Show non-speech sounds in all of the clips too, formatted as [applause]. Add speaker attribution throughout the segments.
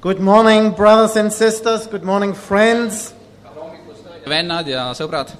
Speaker 1: Good morning, brothers and sisters. Good morning, friends.
Speaker 2: vennad ja sõbrad ,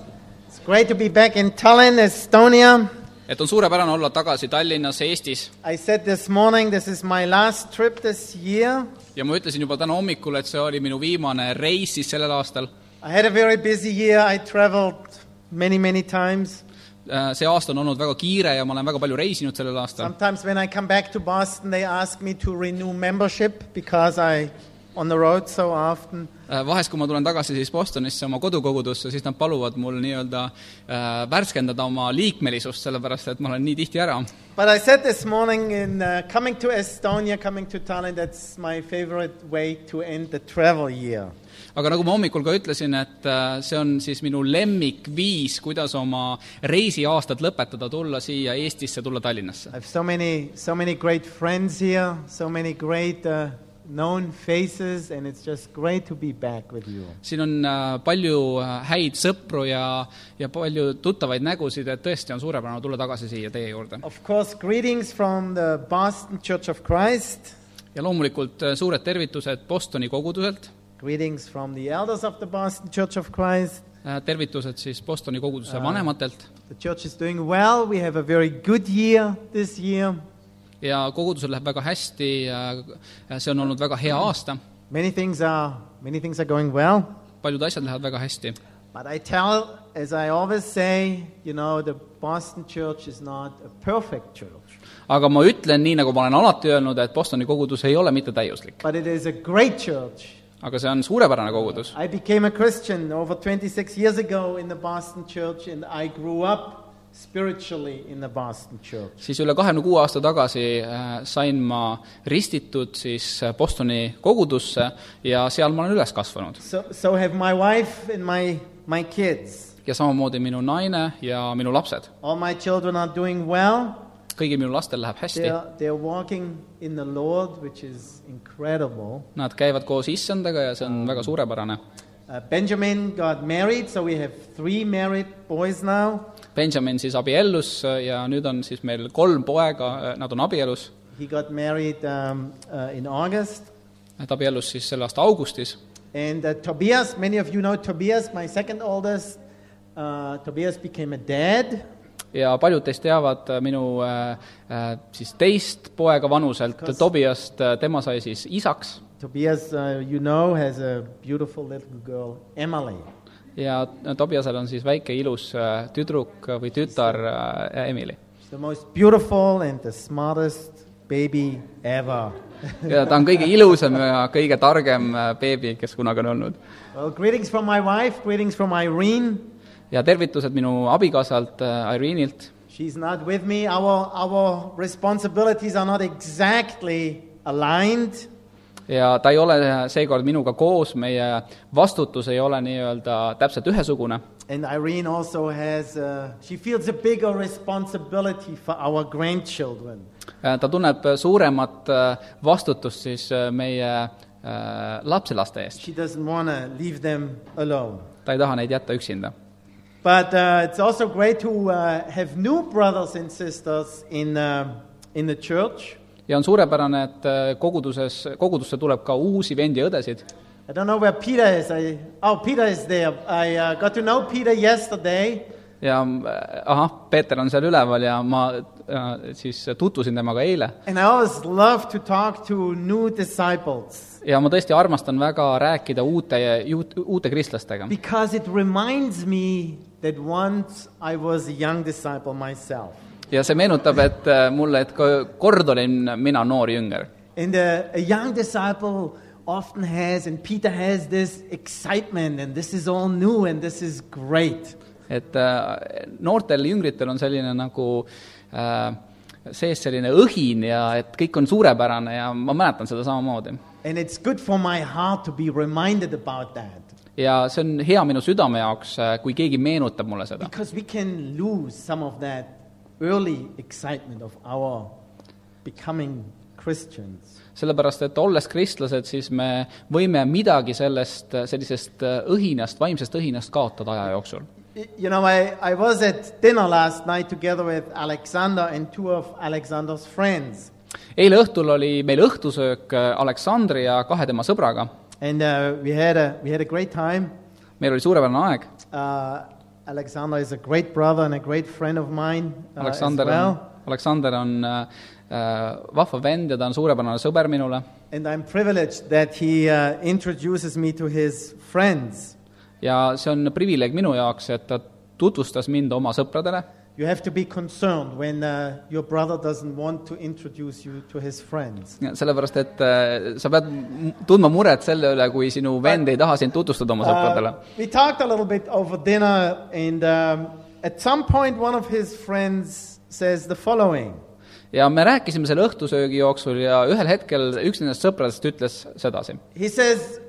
Speaker 1: It's great to be back in Tallinn, Estonia.
Speaker 2: et on suurepärane olla tagasi Tallinnas , Eestis
Speaker 1: I said this morning this is my last trip this year.
Speaker 2: ja ma ütlesin juba täna hommikul , et see oli minu viimane reis siis sellel aastal .
Speaker 1: I had a very busy year. I traveled many, many times.
Speaker 2: Äh, see aasta on olnud väga kiire ja ma olen väga palju reisinud sellel aastal .
Speaker 1: Sometimes when I come back to Boston, they ask me to renew membership because I on the road so often.
Speaker 2: Äh, vahest , kui ma tulen tagasi siis Bostonisse oma kodukogudusse , siis nad paluvad mul nii-öelda äh, värskendada oma liikmelisust , sellepärast et ma olen nii tihti ära .
Speaker 1: But I said this morning in uh, coming to Estonia, coming to Tallinn, that's my favorite way to end the travel year.
Speaker 2: aga nagu ma hommikul ka ütlesin , et äh, see on siis minu lemmikviis , kuidas oma reisiaastat lõpetada , tulla siia Eestisse , tulla Tallinnasse
Speaker 1: I . have so many, so many great friends here, so many great uh, known faces, and it's just great to be back with you.
Speaker 2: siin on äh, palju äh, häid sõpru ja , ja palju tuttavaid nägusid , et tõesti on suurepärane tulla tagasi siia teie juurde .
Speaker 1: Of course, greetings from the Boston Church of Christ,
Speaker 2: ja loomulikult äh, suured tervitused Bostoni koguduselt ,
Speaker 1: greetings from the elders of the Boston Church of Christ.
Speaker 2: äh, tervitused siis Bostoni koguduse vanematelt
Speaker 1: The church is doing well. We have a very good year this year.
Speaker 2: ja kogudusel läheb väga hästi , see on olnud väga hea aasta ,
Speaker 1: Many things are, many things are going well.
Speaker 2: paljud asjad lähevad väga hästi .
Speaker 1: But I tell, as I always say, you know, the Boston church is not a perfect church,
Speaker 2: aga ma ütlen nii , nagu ma olen alati öelnud , et Bostoni kogudus ei ole mitte täiuslik ,
Speaker 1: but it is a great church.
Speaker 2: aga see on suurepärane kogudus .
Speaker 1: I became a Christian over 26 years ago in the Boston church, and I grew up spiritually in the Boston church.
Speaker 2: siis üle kahekümne kuue aasta tagasi äh, sain ma ristitud siis äh, Bostoni kogudusse ja seal ma olen üles kasvanud .
Speaker 1: So, so have my wife and my, my kids.
Speaker 2: ja samamoodi minu naine ja minu lapsed .
Speaker 1: All my children are doing well.
Speaker 2: kõigil minu lastel läheb hästi ,
Speaker 1: They're, they're walking in the Lord, which is incredible.
Speaker 2: nad käivad koos issandaga ja see on väga suurepärane .
Speaker 1: Uh, Benjamin got married, so we have three married boys now.
Speaker 2: Benjamin siis abiellus äh, ja nüüd on siis meil kolm poega , nad on abielus ,
Speaker 1: He got married um, uh, in August.
Speaker 2: ta abiellus siis selle aasta augustis
Speaker 1: And uh, Tobias, many of you know Tobias, my second oldest. Uh, Tobias became a dad.
Speaker 2: ja paljud teist teavad äh, minu äh, äh, siis teist poega vanuselt , Tobiast , tema sai siis isaks
Speaker 1: Tobias, uh, you know, has a beautiful little girl, Emily.
Speaker 2: ja Tobiasel on siis väike ilus äh, tüdruk või tütar äh, Emily .
Speaker 1: She's the most beautiful and the smartest baby ever. [laughs]
Speaker 2: ja ta on kõige ilusam ja kõige targem äh, beebi , kes kunagi on olnud .
Speaker 1: well, greetings from my wife, greetings from Irene.
Speaker 2: ja tervitused minu abikaasalt äh, Irene'ilt ,
Speaker 1: She's not with me. Our, our responsibilities are not exactly aligned,
Speaker 2: ja ta ei ole äh, seekord minuga koos , meie vastutus ei ole nii-öelda täpselt ühesugune
Speaker 1: And Irene also has, uh, she feels a bigger responsibility for our grandchildren.
Speaker 2: äh, ta tunneb suuremat äh, vastutust siis äh, meie äh, lapselaste eest ,
Speaker 1: She doesn't want to leave them alone.
Speaker 2: ta ei taha neid jätta üksinda
Speaker 1: But uh, it's also great to uh, have new brothers and sisters in, uh, in the church.
Speaker 2: ja on suurepärane , et äh, koguduses , kogudusse tuleb ka uusi vendi ja õdesid
Speaker 1: I don't know where Peter is. I, oh, Peter is there. I uh, got to know Peter yesterday.
Speaker 2: ja äh, ahah , Peeter on seal üleval ja ma äh, siis tutvusin temaga eile
Speaker 1: And I always love to talk to new disciples
Speaker 2: ja ma tõesti armastan väga rääkida uute , uute kristlastega ,
Speaker 1: because it reminds me that once I was a young disciple myself.
Speaker 2: ja see meenutab , et äh, mulle , et ka kord olin mina noor jünger .
Speaker 1: And uh, a young disciple often has, and Peter has this excitement, and this is all new, and this is great.
Speaker 2: et äh, noortel jüngritel on selline nagu äh, sees selline õhin ja et kõik on suurepärane ja ma mäletan seda samamoodi .
Speaker 1: And it's good for my heart to be reminded about that.
Speaker 2: ja see on hea minu südame jaoks , kui keegi meenutab mulle seda .
Speaker 1: Because we can lose some of that early excitement of our becoming Christians.
Speaker 2: sellepärast , et olles kristlased , siis me võime midagi sellest , sellisest äh, õhinast , vaimsest õhinast kaotada aja jooksul .
Speaker 1: Y- You know, I, I was at dinner last night together with Alexander and two of Alexander's friends.
Speaker 2: eile õhtul oli meil õhtusöök äh, Aleksandri ja kahe tema sõbraga ,
Speaker 1: And uh, we, had a, we had a great time.
Speaker 2: meil oli suurepärane aeg ,
Speaker 1: Uh, Alexander is a great brother and a great friend of mine uh, as
Speaker 2: Aleksander on
Speaker 1: well. ,
Speaker 2: Aleksander on äh, äh, vahva vend ja ta on suurepärane sõber minule
Speaker 1: And I'm privileged that he uh, introduces me to his friends.
Speaker 2: ja see on privileeg minu jaoks , et ta tutvustas mind oma sõpradele
Speaker 1: You have to be concerned when uh, your brother doesn't want to introduce you to his friends.
Speaker 2: Ja sellepärast , et äh, sa pead m- tundma muret selle üle , kui sinu vend ei taha sind tutvustada oma sõpradele
Speaker 1: Uh, we talked a little bit over dinner, and um, at some point, one of his friends says the following
Speaker 2: ja me rääkisime selle õhtusöögi jooksul ja ühel hetkel üks nendest sõpradest ütles sedasi .
Speaker 1: He says,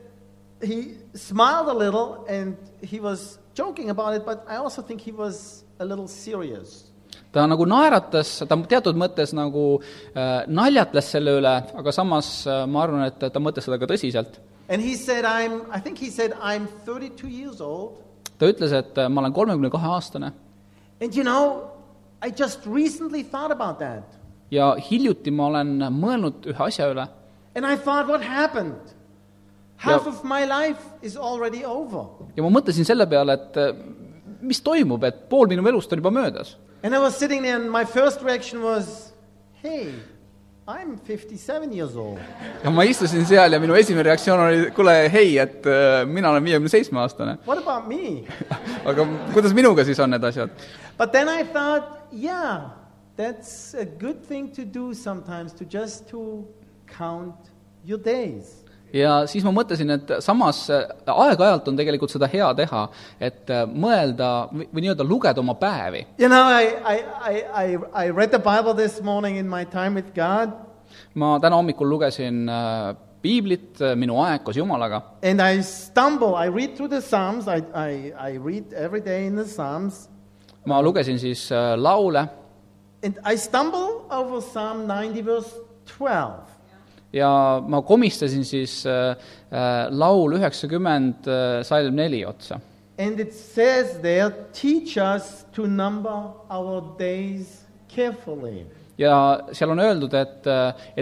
Speaker 1: he smiled a little and he was joking about it, but I also think he was a little serious.
Speaker 2: ta nagu naeratas , ta teatud mõttes nagu äh, naljatles selle üle , aga samas äh, ma arvan , et ta mõtles seda ka tõsiselt .
Speaker 1: And he said, I'm, I think he said, I'm 32 years old.
Speaker 2: ta ütles , et äh, ma olen kolmekümne kahe aastane
Speaker 1: And you know, I just recently thought about that.
Speaker 2: ja hiljuti ma olen mõelnud ühe asja üle
Speaker 1: And I thought, what happened? Half
Speaker 2: Yeah.
Speaker 1: of my life is already over.
Speaker 2: ja ma mõtlesin selle peale , et äh, mis toimub , et pool minu elust on juba möödas
Speaker 1: And I was sitting there, and my first reaction was, hey, I'm 57 years old.
Speaker 2: ja ma istusin seal ja minu esimene reaktsioon oli , kuule , hei , et äh, mina olen viiekümne seitsme aastane . [laughs]
Speaker 1: What about me?
Speaker 2: aga kuidas minuga siis on need asjad ?
Speaker 1: But then I thought, yeah, that's a good thing to do sometimes to just to count your days.
Speaker 2: ja siis ma mõtlesin , et samas äh, aeg-ajalt on tegelikult seda hea teha , et äh, mõelda või, või nii-öelda lugeda oma päevi .
Speaker 1: You know, I, I, I, I, I read the Bible this morning in my time with God,
Speaker 2: ma täna hommikul lugesin äh, piiblit , Minu aeg koos Jumalaga ,
Speaker 1: and I stumble. I read through the Psalms. I, I, I read every day in the Psalms.
Speaker 2: ma lugesin siis äh, laule
Speaker 1: And I stumble over Psalm 90, verse 12.
Speaker 2: ja ma komistasin siis äh, äh, laul üheksakümmend salm neli otsa
Speaker 1: And it says there, teach us to number our days carefully.
Speaker 2: ja seal on öeldud , et ,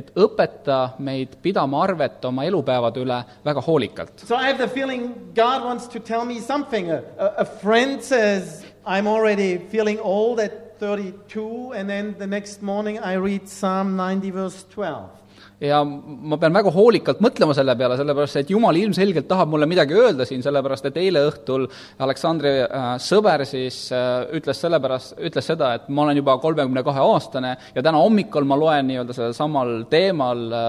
Speaker 2: et õpeta meid pidama arvet oma elupäevade üle väga hoolikalt .
Speaker 1: So I have the feeling God wants to tell me something. A, a, a friend says, I'm already feeling old at 32, and then the next morning I read Psalm 90, verse 12.
Speaker 2: ja ma pean väga hoolikalt mõtlema selle peale , sellepärast et Jumal ilmselgelt tahab mulle midagi öelda siin , sellepärast et eile õhtul Aleksandri äh, sõber siis äh, ütles selle pärast , ütles seda , et ma olen juba kolmekümne kahe aastane ja täna hommikul ma loen nii-öelda sellel samal teemal äh,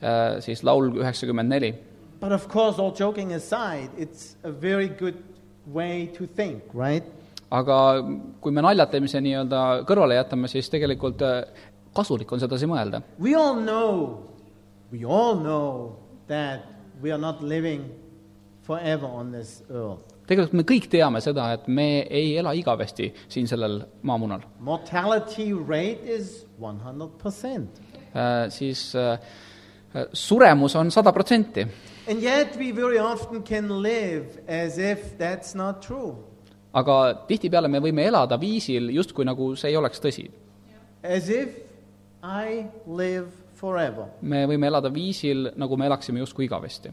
Speaker 2: äh, siis laul üheksakümmend neli
Speaker 1: But of course, all joking aside, it's a very good way to think, right?
Speaker 2: aga kui me naljatamise nii-öelda kõrvale jätame , siis tegelikult äh, kasulik on sedasi mõelda .
Speaker 1: We all know, we all know that we are not living forever on this earth.
Speaker 2: tegelikult me kõik teame seda , et me ei ela igavesti siin sellel maamunal .
Speaker 1: Mortality rate is 100%.
Speaker 2: Siis äh, suremus on sada protsenti
Speaker 1: And yet, we very often can live as if that's not true,
Speaker 2: aga tihtipeale me võime elada viisil , justkui nagu see ei oleks tõsi .
Speaker 1: as if I live forever.
Speaker 2: me võime elada viisil , nagu me elaksime justkui igavesti .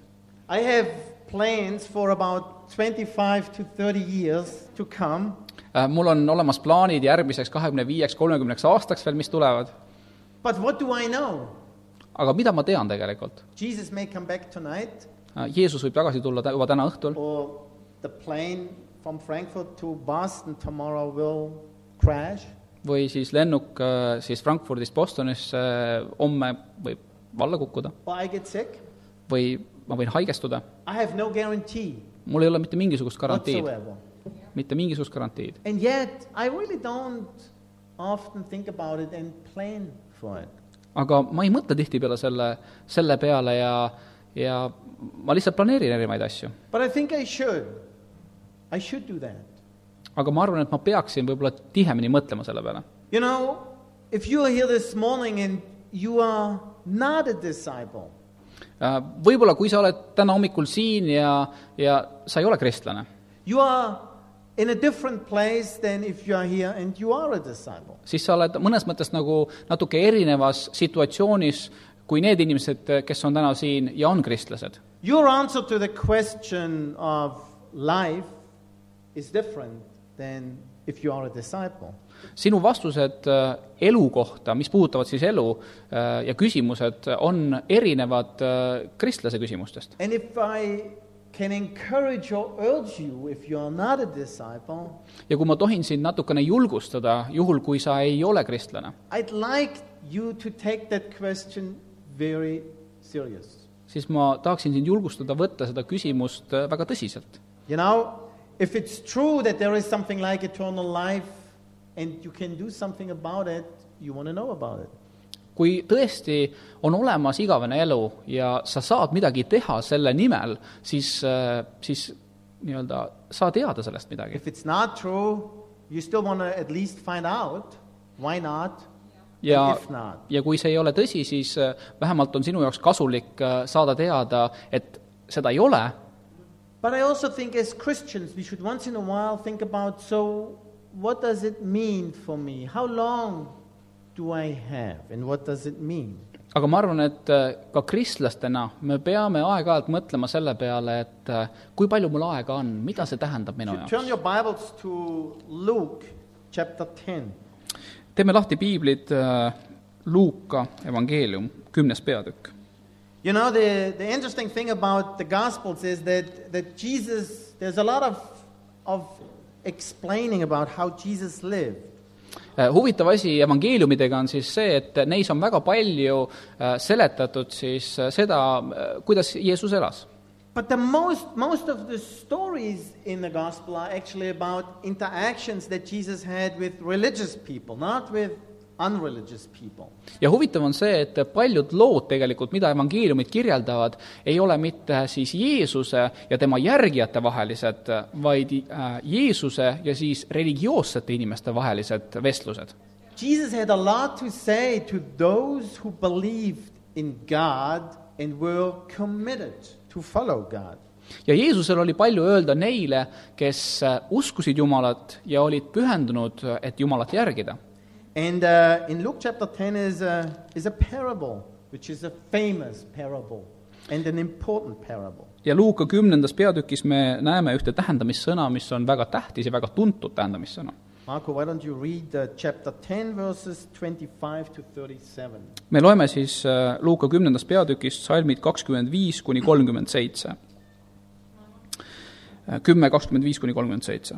Speaker 1: I have plans for about 25 to 30 years to come,
Speaker 2: Äh, mul on olemas plaanid järgmiseks kahekümne viieks , kolmekümneks aastaks veel , mis tulevad ,
Speaker 1: but what do I know?
Speaker 2: aga mida ma tean tegelikult ?
Speaker 1: Jesus may come back tonight,
Speaker 2: Jeesus võib tagasi tulla tä- juba täna õhtul
Speaker 1: or the plane from Frankfurt to Boston tomorrow will crash.
Speaker 2: või siis lennuk äh, siis Frankfurdist Bostonisse äh, homme võib alla kukkuda
Speaker 1: Or I get sick.
Speaker 2: või ma võin haigestuda ,
Speaker 1: I have no guarantee
Speaker 2: mul ei ole mitte mingisugust garantiid ,
Speaker 1: whatsoever.
Speaker 2: mitte mingisugust garantiid .
Speaker 1: And yet, I really don't often think about it and plan for it.
Speaker 2: aga ma ei mõtle tihtipeale selle , selle peale ja , ja ma lihtsalt planeerin erinevaid asju .
Speaker 1: But I think I should. I should do that.
Speaker 2: aga ma arvan , et ma peaksin võib-olla tihemini mõtlema selle peale .
Speaker 1: You know, if you are here this morning and you are not a disciple,
Speaker 2: Äh, Võib-olla kui sa oled täna hommikul siin ja , ja sa ei ole kristlane ,
Speaker 1: you are in a different place than if you are here and you are a disciple.
Speaker 2: siis sa oled mõnes mõttes nagu natuke erinevas situatsioonis kui need inimesed , kes on täna siin ja on kristlased .
Speaker 1: Your answer to the question of life is different than if you are a disciple.
Speaker 2: sinu vastused äh, elu kohta , mis puudutavad siis elu äh, ja küsimused , on erinevad äh, kristlase küsimustest .
Speaker 1: And if I can encourage or urge you, if you are not a disciple,
Speaker 2: ja kui ma tohin sind natukene julgustada , juhul kui sa ei ole kristlane ,
Speaker 1: I'd like you to take that question very serious.
Speaker 2: siis ma tahaksin sind julgustada võtta seda küsimust äh, väga tõsiselt .
Speaker 1: You know, if it's true that there is something like eternal life and you can do something about it, you want to know about it.
Speaker 2: kui tõesti on olemas igavene elu ja sa saad midagi teha selle nimel , siis , siis nii-öelda saa teada sellest midagi .
Speaker 1: If it's not true, you still want to at least find out why not and
Speaker 2: ja
Speaker 1: if not.
Speaker 2: ja kui see ei ole tõsi , siis äh, vähemalt on sinu jaoks kasulik äh, saada teada , et seda ei ole ,
Speaker 1: But I also think as Christians, we should once in a while think about so, what does it mean for me? How long do I have? And what does it mean?
Speaker 2: aga ma arvan , et äh, ka kristlastena me peame aeg-ajalt mõtlema selle peale , et äh, kui palju mul aega on , mida see tähendab minu
Speaker 1: If you turn
Speaker 2: jaoks .
Speaker 1: your Bibles to Luke chapter 10.
Speaker 2: teeme lahti piiblid , Luuka evangeelium , kümnes peatükk
Speaker 1: You know, the, the interesting thing about the Gospels is that, that Jesus, there's a lot of, of explaining about how Jesus lived.
Speaker 2: Äh, huvitav asi evangeeliumidega on siis see , et neis on väga palju äh, seletatud siis äh, seda , kuidas Jeesus elas .
Speaker 1: But the most, most of the stories in the Gospel are actually about interactions that Jesus had with religious people, not with unreligious people.
Speaker 2: ja huvitav on see , et paljud lood tegelikult , mida evangeeliumid kirjeldavad , ei ole mitte siis Jeesuse ja tema järgijate vahelised , vaid äh, Jeesuse ja siis religioossete inimeste vahelised vestlused .
Speaker 1: Jesus had a lot to say to those who believed in God and were committed to follow God.
Speaker 2: ja Jeesusel oli palju öelda neile , kes äh, uskusid Jumalat ja olid pühendunud , et Jumalat järgida
Speaker 1: And uh, in Luke chapter 10 is a, is a parable, which is a famous parable and an important parable.
Speaker 2: ja Luuka kümnendas peatükis me näeme ühte tähendamissõna , mis on väga tähtis ja väga tuntud tähendamissõna .
Speaker 1: Marco, why don't you read uh, chapter 10, verses 25 to 37?
Speaker 2: me loeme siis äh, Luuka kümnendast peatükist salmid kakskümmend viis kuni kolmkümmend seitse . kümme , kakskümmend viis kuni kolmkümmend seitse .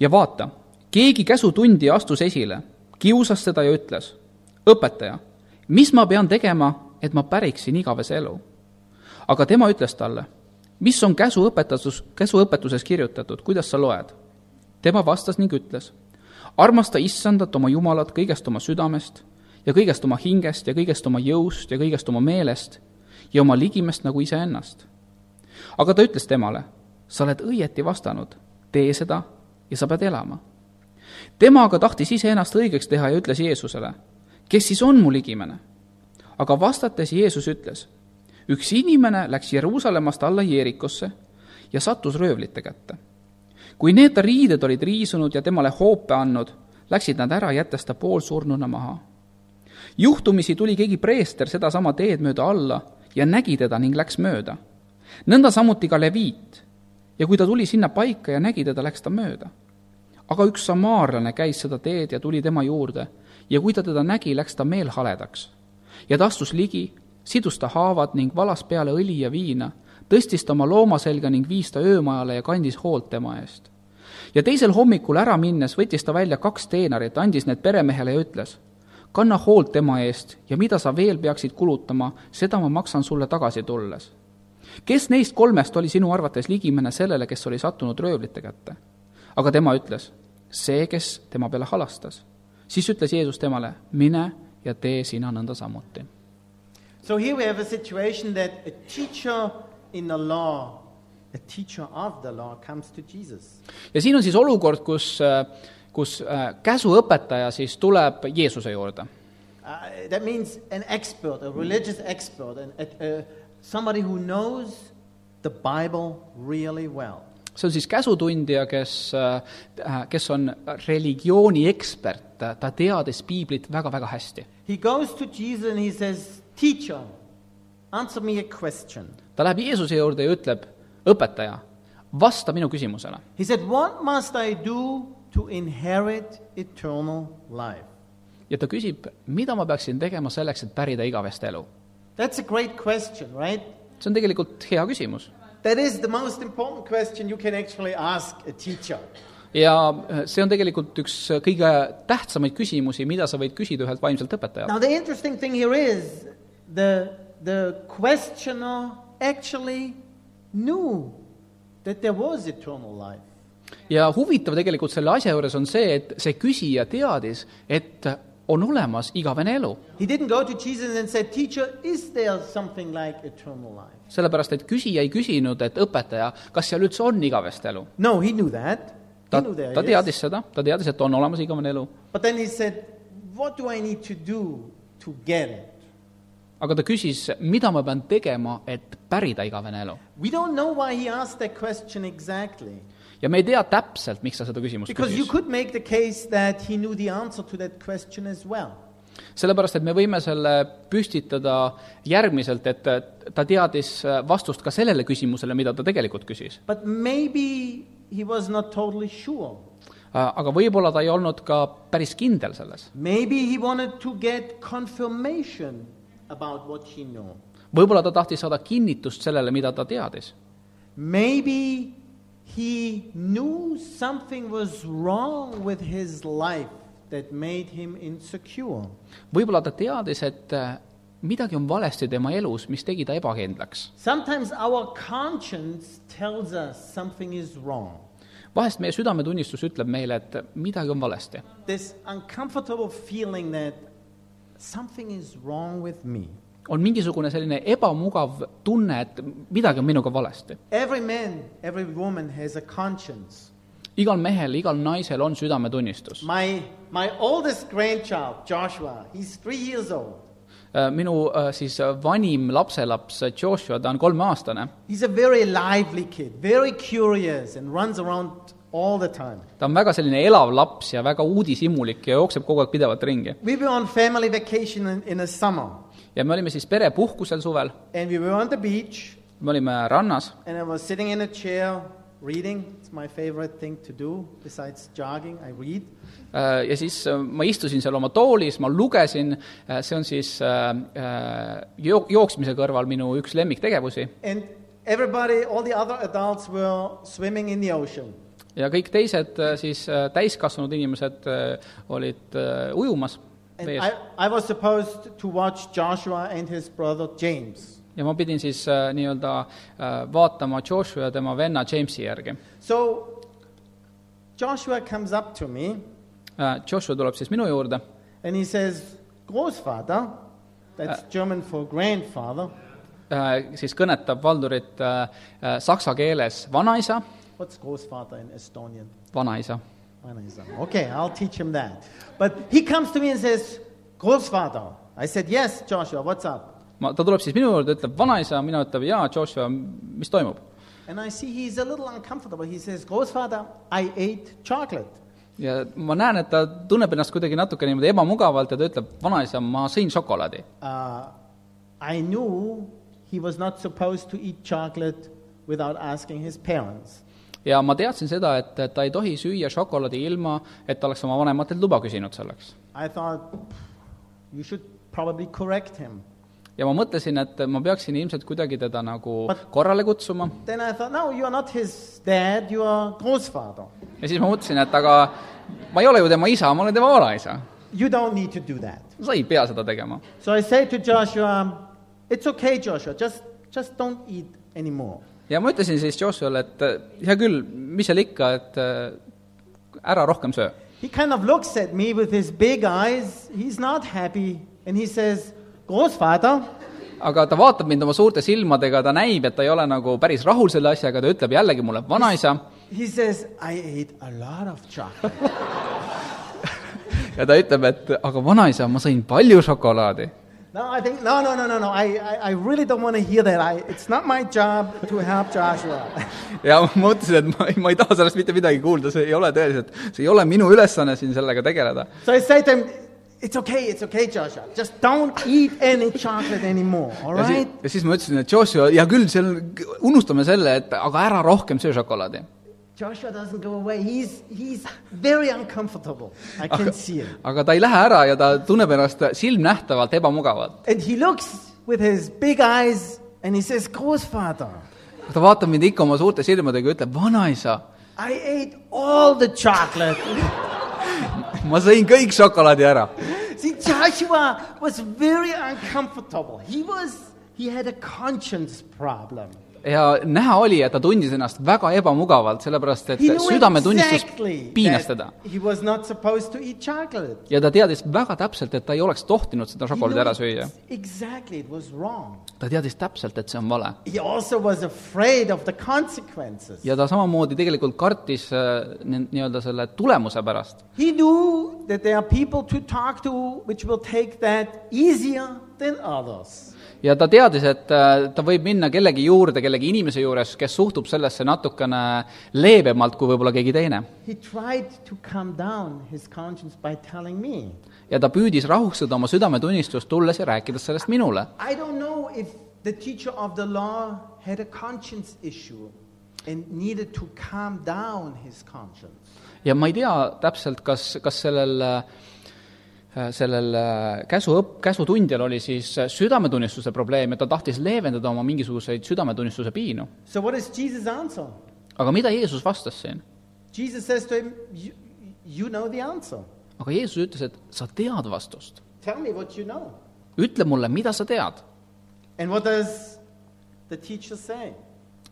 Speaker 2: ja vaata , keegi käsutundja astus esile , kiusas teda ja ütles , õpetaja , mis ma pean tegema , et ma päriksin igavese elu ? aga tema ütles talle , mis on käsuõpetus , käsuõpetuses kirjutatud , kuidas sa loed ? tema vastas ning ütles , armasta issandat oma Jumalat kõigest oma südamest ja kõigest oma hingest ja kõigest oma jõust ja kõigest oma meelest ja oma ligimest nagu iseennast . aga ta ütles temale , sa oled õieti vastanud , tee seda ja sa pead elama . tema aga tahtis iseennast õigeks teha ja ütles Jeesusele , kes siis on mu ligimene ? aga vastates Jeesus ütles , üks inimene läks Jeruusalemmast alla Jeerikosse ja sattus röövlite kätte . kui need ta riided olid riisunud ja temale hoope andnud , läksid nad ära , jättes ta poolsurnuna maha . juhtumisi tuli keegi preester sedasama teed mööda alla ja nägi teda ning läks mööda . nõnda samuti ka leviit . ja kui ta tuli sinna paika ja nägi teda , läks ta mööda aga üks samaarlane käis seda teed ja tuli tema juurde ja kui ta teda nägi , läks ta meelhaledaks . ja ta astus ligi , sidus ta haavad ning valas peale õli ja viina , tõstis ta oma looma selga ning viis ta öömajale ja kandis hoolt tema eest . ja teisel hommikul ära minnes võttis ta välja kaks teenorit , andis need peremehele ja ütles , kanna hoolt tema eest ja mida sa veel peaksid kulutama , seda ma maksan sulle tagasi tulles kes neist kolmest oli sinu arvates ligimene sellele , kes oli sattunud röövlite kätte ? aga tema ütles , see , kes tema peale halastas . siis ütles Jeesus temale , mine ja tee sina nõnda samuti .
Speaker 1: So here we have a situation that a teacher in the law, a teacher of the law, comes to Jesus.
Speaker 2: ja siin on siis olukord , kus , kus äh, käsuõpetaja siis tuleb Jeesuse juurde .
Speaker 1: Uh, that means an expert, a religious expert, an, a, a, somebody who knows the Bible really well.
Speaker 2: see on siis käsutundja, kes , kes on religiooni ekspert , ta teadis piiblit väga-väga hästi .
Speaker 1: He goes to Jesus and he says, Teacher, answer me a question.
Speaker 2: ta läheb Jeesuse juurde ja ütleb , õpetaja , vasta minu küsimusele .
Speaker 1: He said, What must I do to inherit eternal life?
Speaker 2: ja ta küsib , mida ma peaksin tegema selleks , et pärida igavest elu .
Speaker 1: That's a great question, right?
Speaker 2: see on tegelikult hea küsimus
Speaker 1: That is the most important question you can actually ask a teacher.
Speaker 2: ja äh, see on tegelikult üks äh, kõige tähtsamaid küsimusi , mida sa võid küsida ühelt vaimselt õpetajalt .
Speaker 1: Now, the interesting thing here is the, the questioner actually knew that there was eternal life.
Speaker 2: ja huvitav tegelikult selle asja juures on see , et see küsija teadis , et on olemas igavene elu .
Speaker 1: He didn't go to Jesus and said, Teacher, is there something like eternal life?
Speaker 2: sellepärast , et küsija ei küsinud , et õpetaja , kas seal üldse on igavest elu .
Speaker 1: No, he knew that. He
Speaker 2: ta
Speaker 1: knew there
Speaker 2: ta
Speaker 1: is.
Speaker 2: teadis seda , ta teadis , et on olemas igavene elu ,
Speaker 1: But then he said, What do I need to do to get it?
Speaker 2: aga ta küsis , mida ma pean tegema , et pärida igavene elu .
Speaker 1: We don't know why he asked that question exactly.
Speaker 2: ja me ei tea täpselt , miks ta seda küsimust
Speaker 1: Because you
Speaker 2: küsis .
Speaker 1: could make the case that he knew the answer to that question as well.
Speaker 2: sellepärast , et me võime selle püstitada järgmiselt , et ta teadis äh, vastust ka sellele küsimusele , mida ta tegelikult küsis .
Speaker 1: But maybe he was not totally sure.
Speaker 2: Äh, aga võib-olla ta ei olnud ka päris kindel selles .
Speaker 1: Maybe he wanted to get confirmation about what he knew.
Speaker 2: võib-olla ta tahtis saada kinnitust sellele , mida ta teadis .
Speaker 1: Maybe he knew something was wrong with his life that made him insecure.
Speaker 2: võib-olla ta teadis , et äh, midagi on valesti tema elus , mis tegi ta ebakindlaks .
Speaker 1: Sometimes our conscience tells us something is wrong.
Speaker 2: vahest meie südametunnistus ütleb meile , et midagi on valesti .
Speaker 1: This uncomfortable feeling that something is wrong with me.
Speaker 2: on mingisugune selline ebamugav tunne , et midagi on minuga valesti .
Speaker 1: Every man, every woman has a conscience.
Speaker 2: igal mehel , igal naisel on südametunnistus .
Speaker 1: My, my oldest grandchild, Joshua, he's three years old.
Speaker 2: minu äh, siis äh, vanim lapselaps äh, Joshua , ta on kolmeaastane ,
Speaker 1: He's a very lively kid, very curious, and runs around all the time.
Speaker 2: ta on väga selline elav laps ja väga uudishimulik ja jookseb kogu aeg pidevalt ringi .
Speaker 1: We were on family vacation in, in the summer,
Speaker 2: ja me olime siis perepuhkusel suvel ,
Speaker 1: and we were on the beach,
Speaker 2: me olime rannas
Speaker 1: and I was sitting in a chair reading. It's my favorite thing to do besides jogging. I read.
Speaker 2: äh, ja siis äh, ma istusin seal oma toolis , ma lugesin , see on siis äh, äh, jo- , jooksmise kõrval minu üks lemmiktegevusi
Speaker 1: And everybody, all the other adults were swimming in the ocean.
Speaker 2: ja kõik teised äh, siis äh, täiskasvanud inimesed äh, olid äh, ujumas
Speaker 1: And
Speaker 2: vees
Speaker 1: I, I was supposed to watch Joshua and his brother James.
Speaker 2: ja ma pidin siis äh, nii-öelda äh, vaatama Joshua ja tema venna Jamesi järgi .
Speaker 1: So Joshua comes up to me
Speaker 2: Äh, Joshua tuleb siis minu juurde
Speaker 1: and he says, Großvater, that's German for grandfather.
Speaker 2: äh, siis kõnetab Valdurit äh, äh, saksa keeles vanaisa ,
Speaker 1: What's Großvater in Estonian?
Speaker 2: vanaisa .
Speaker 1: Vanaisa. Okay, I'll teach him that. But he comes to me and says, Großvater. I said, Yes, Joshua, what's up?
Speaker 2: ma , ta tuleb siis minu juurde , ütleb vanaisa , mina ütlen jaa , Joshua , mis toimub ?
Speaker 1: And I see he's a little uncomfortable. He says, Großvater, I ate chocolate.
Speaker 2: ja ma näen , et ta tunneb ennast kuidagi natuke niimoodi ebamugavalt ja ta ütleb , vanaisa , ma sõin šokolaadi .
Speaker 1: Uh, I knew he was not supposed to eat chocolate without asking his parents.
Speaker 2: ja ma teadsin seda , et et ta ei tohi süüa šokolaadi ilma , et ta oleks oma vanematelt luba küsinud selleks .
Speaker 1: I thought, you should probably correct him.
Speaker 2: ja ma mõtlesin , et ma peaksin ilmselt kuidagi teda nagu
Speaker 1: But-
Speaker 2: korrale kutsuma
Speaker 1: Then I thought, no, you're not his dad, you are Großvater.
Speaker 2: ja siis ma mõtlesin , et aga ma ei ole ju tema isa , ma olen tema vanaisa .
Speaker 1: You don't need to do that.
Speaker 2: sa ei pea seda tegema .
Speaker 1: So I say to Joshua, it's okay, Joshua, just, just don't eat anymore.
Speaker 2: ja ma ütlesin siis Joshuale , et äh, hea küll , mis seal ikka , et äh, ära rohkem söö .
Speaker 1: He kind of looks at me with his big eyes. He's not happy. And he says, Großvater,
Speaker 2: aga ta vaatab mind oma suurte silmadega , ta näib , et ta ei ole nagu päris rahul selle asjaga , ta ütleb jällegi mulle , vanaisa ,
Speaker 1: he says, I ate a lot of chocolate.
Speaker 2: ja ta ütleb , et aga vanaisa , ma sõin palju šokolaadi .
Speaker 1: Now, No, I think, no, no, no, no, no. I, I, I really don't want to hear that. I, it's not my job to help Joshua.
Speaker 2: ja ma mõtlesin , et ma ei , ma ei taha sellest mitte midagi kuulda , see ei ole tõeliselt , see ei ole minu ülesanne siin sellega tegeleda .
Speaker 1: so I said to him, It's okay, it's okay, Joshua. Just don't eat any chocolate anymore, all
Speaker 2: ja siis
Speaker 1: right? ,
Speaker 2: ja siis ma ütlesin , et Joshua , hea küll , seal , unustame selle , et aga ära rohkem söö šokolaadi .
Speaker 1: Joshua doesn't go away. He's, he's very uncomfortable. I can
Speaker 2: aga
Speaker 1: see it. ,
Speaker 2: aga ta ei lähe ära ja ta tunneb ennast silmnähtavalt ebamugavalt .
Speaker 1: And he looks with his big eyes and he says, Großvater,
Speaker 2: ta vaatab mind ikka oma suurte silmadega ja ütleb , vanaisa ,
Speaker 1: I ate all the chocolate.
Speaker 2: ma sõin kõik šokolaadi ära .
Speaker 1: See, Joshua was very uncomfortable. He was, he had a conscience problem.
Speaker 2: ja näha oli , et ta tundis ennast väga ebamugavalt , sellepärast et
Speaker 1: He knew
Speaker 2: südametunnistus
Speaker 1: exactly
Speaker 2: piinas
Speaker 1: that
Speaker 2: teda .
Speaker 1: he was not supposed to eat chocolate.
Speaker 2: ja ta teadis väga täpselt , et ta ei oleks tohtinud seda
Speaker 1: He
Speaker 2: šokolaadi
Speaker 1: knew
Speaker 2: ära
Speaker 1: it-
Speaker 2: süüa .
Speaker 1: Exactly, it was wrong.
Speaker 2: ta teadis täpselt , et see on vale .
Speaker 1: He also was afraid of the consequences.
Speaker 2: ja ta samamoodi tegelikult kartis äh, nii- nii-öelda selle tulemuse pärast .
Speaker 1: He knew that there are people to talk to which will take that easier than others.
Speaker 2: ja ta teadis , et äh, ta võib minna kellegi juurde , kellegi inimese juures , kes suhtub sellesse natukene leebemalt kui võib-olla keegi teine .
Speaker 1: He tried to calm down his conscience by telling me.
Speaker 2: ja ta püüdis rahustada oma südametunnistust , tulles ja rääkides sellest minule .
Speaker 1: I don't know if the teacher of the law had a conscience issue and needed to calm down his conscience.
Speaker 2: ja ma ei tea täpselt , kas , kas sellel äh, sellel äh, käsuõpp , käsutundjal oli siis äh, südametunnistuse probleem ja ta tahtis leevendada oma mingisuguseid südametunnistuse piinu .
Speaker 1: So, what is Jesus' answer?
Speaker 2: aga mida Jeesus vastas siin ?
Speaker 1: Jesus says to him, You, you know the answer.
Speaker 2: aga Jeesus ütles , et sa tead vastust .
Speaker 1: Tell me what you know.
Speaker 2: ütle mulle , mida sa tead .
Speaker 1: And what does the teacher say?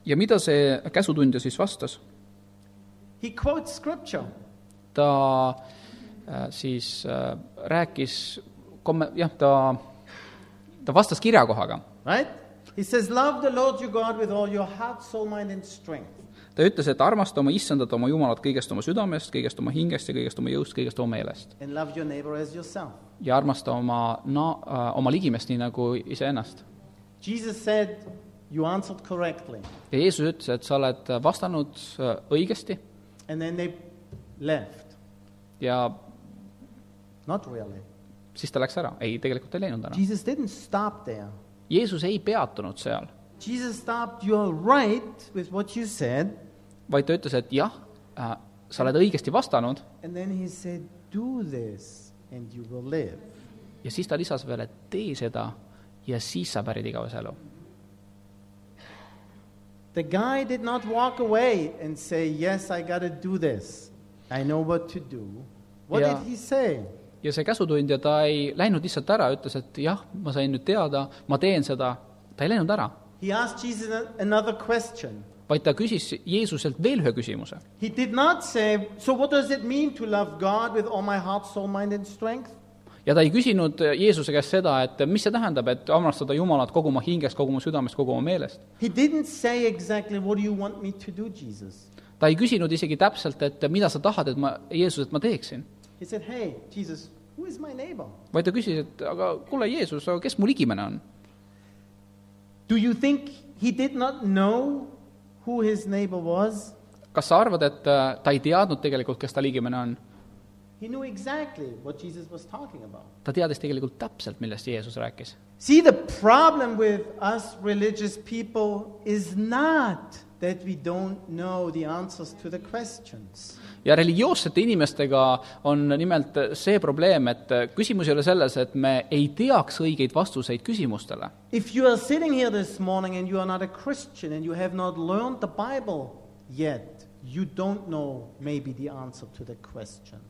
Speaker 2: ja mida see käsutundja siis vastas ?
Speaker 1: He quotes scripture.
Speaker 2: ta äh, siis äh, rääkis komme- , jah , ta , ta vastas kirjakohaga .
Speaker 1: Right? He says, Love the Lord your God with all your heart, soul, mind, and strength.
Speaker 2: ta ütles , et armasta oma issandat , oma jumalat kõigest oma südamest , kõigest oma hingest ja kõigest oma jõust , kõigest oma meelest .
Speaker 1: And love your neighbor as yourself.
Speaker 2: ja armasta oma na- , oma ligimest nii nagu iseennast .
Speaker 1: Jesus said, You answered correctly.
Speaker 2: ja Jeesus ütles , et sa oled vastanud äh, õigesti
Speaker 1: And then they left.
Speaker 2: ja
Speaker 1: Not really.
Speaker 2: siis ta läks ära . ei , tegelikult ei läinud ära .
Speaker 1: Jesus didn't stop there.
Speaker 2: Jeesus ei peatunud seal ,
Speaker 1: Jesus stopped, You're right with what you said.
Speaker 2: vaid ta ütles , et jah äh, , sa oled õigesti vastanud
Speaker 1: And then he said, Do this and you will live.
Speaker 2: ja siis ta lisas veel , et tee seda ja siis sa pärid igavese elu .
Speaker 1: The guy did not walk away and say, Yes, I got to do this. I know what to do. What
Speaker 2: Yeah.
Speaker 1: did he say?
Speaker 2: ja see käsutundja , ta ei läinud lihtsalt ära , ütles , et jah , ma sain nüüd teada , ma teen seda , ta ei läinud ära ,
Speaker 1: He asked Jesus a- another question.
Speaker 2: vaid ta küsis Jeesuselt veel ühe küsimuse .
Speaker 1: He did not say, So what does it mean to love God with all my heart, soul, mind, and strength?
Speaker 2: ja ta ei küsinud Jeesuse käest seda , et mis see tähendab , et armastada Jumalat kogu oma hingest , kogu oma südamest , kogu oma meelest .
Speaker 1: He didn't say exactly, What do you want me to do, Jesus?
Speaker 2: ta ei küsinud isegi täpselt , et mida sa tahad , et ma , Jeesus , et ma teeksin .
Speaker 1: He said, Hey, Jesus, who is my neighbor?
Speaker 2: vaid ta küsis , et aga kuule , Jeesus , aga kes mu ligimene on ?
Speaker 1: Do you think he did not know who his neighbor was?
Speaker 2: kas sa arvad , et äh, ta ei teadnud tegelikult , kes ta ligimene on ?
Speaker 1: He knew exactly what Jesus was talking about.
Speaker 2: ta teadis tegelikult täpselt , millest Jeesus rääkis .
Speaker 1: See, the problem with us religious people is not that we don't know the answers to the questions.
Speaker 2: ja religioossete inimestega on nimelt see probleem , et küsimus ei ole selles , et me ei teaks õigeid vastuseid küsimustele .
Speaker 1: If you are sitting here this morning and you are not a Christian and you have not learned the Bible yet, you don't know maybe the answer to the question.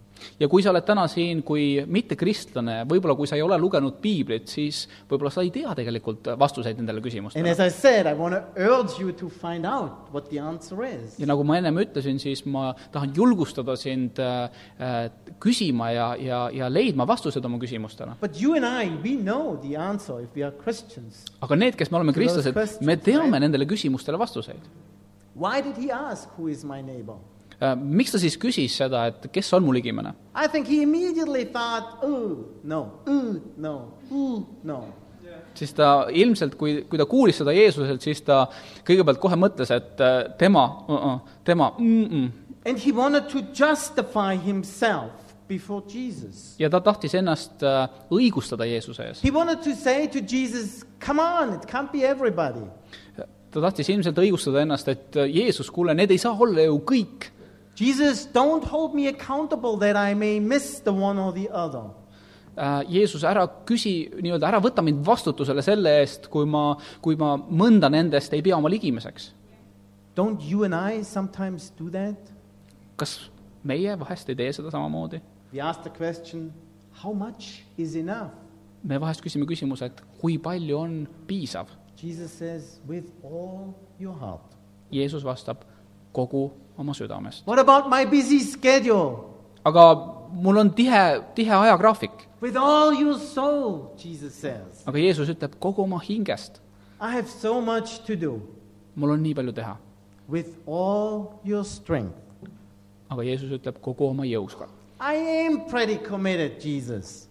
Speaker 2: ja kui sa oled täna siin kui mittekristlane , võib-olla kui sa ei ole lugenud piiblit , siis võib-olla sa ei tea tegelikult vastuseid nendele
Speaker 1: And
Speaker 2: küsimustele .
Speaker 1: as I said, I want to urge you to find out what the answer is.
Speaker 2: ja nagu ma ennem ütlesin , siis ma tahan julgustada sind äh, äh, küsima ja , ja , ja leidma vastused oma küsimustele .
Speaker 1: But you and I, we know the answer if we are Christians.
Speaker 2: aga need , kes me oleme kristlased , me teame nendele küsimustele vastuseid .
Speaker 1: Why did he ask, Who is my neighbor?
Speaker 2: Äh, miks ta siis küsis seda , et kes on mu ligimene ?
Speaker 1: "Uh, I think he immediately thought, ooh, uh, no, ooh, no, ooh, no.
Speaker 2: siis ta ilmselt , kui , kui ta kuulis seda Jeesuselt , siis ta kõigepealt kohe mõtles , et äh, tema , tema mm , -mm.
Speaker 1: And he wanted to justify himself before Jesus.
Speaker 2: ja ta tahtis ennast äh, õigustada Jeesuse ees .
Speaker 1: He wanted to say to Jesus, Come on, it can't be everybody.
Speaker 2: ta tahtis ilmselt õigustada ennast , et äh, Jeesus , kuule , need ei saa olla ju kõik .
Speaker 1: Jesus, don't hold me accountable that I may miss the one or the other.
Speaker 2: Äh, Jeesus , ära küsi , nii-öelda ära võta mind vastutusele selle eest , kui ma , kui ma mõnda nendest ei pea oma ligimiseks .
Speaker 1: Don't you and I sometimes do that?
Speaker 2: kas meie vahest ei tee seda samamoodi ?
Speaker 1: We ask the question, How much is enough?
Speaker 2: me vahest küsime küsimuse , et kui palju on piisav ?
Speaker 1: Jesus says, With all your heart.
Speaker 2: Jeesus vastab kogu oma südamest .
Speaker 1: What about my busy schedule?
Speaker 2: aga mul on tihe , tihe ajagraafik ,
Speaker 1: With all your soul, Jesus says.
Speaker 2: aga Jeesus ütleb kogu oma hingest ,
Speaker 1: I have so much to do.
Speaker 2: mul on nii palju teha .
Speaker 1: With all your strength.
Speaker 2: aga Jeesus ütleb kogu oma jõuga .
Speaker 1: I am pretty committed, Jesus.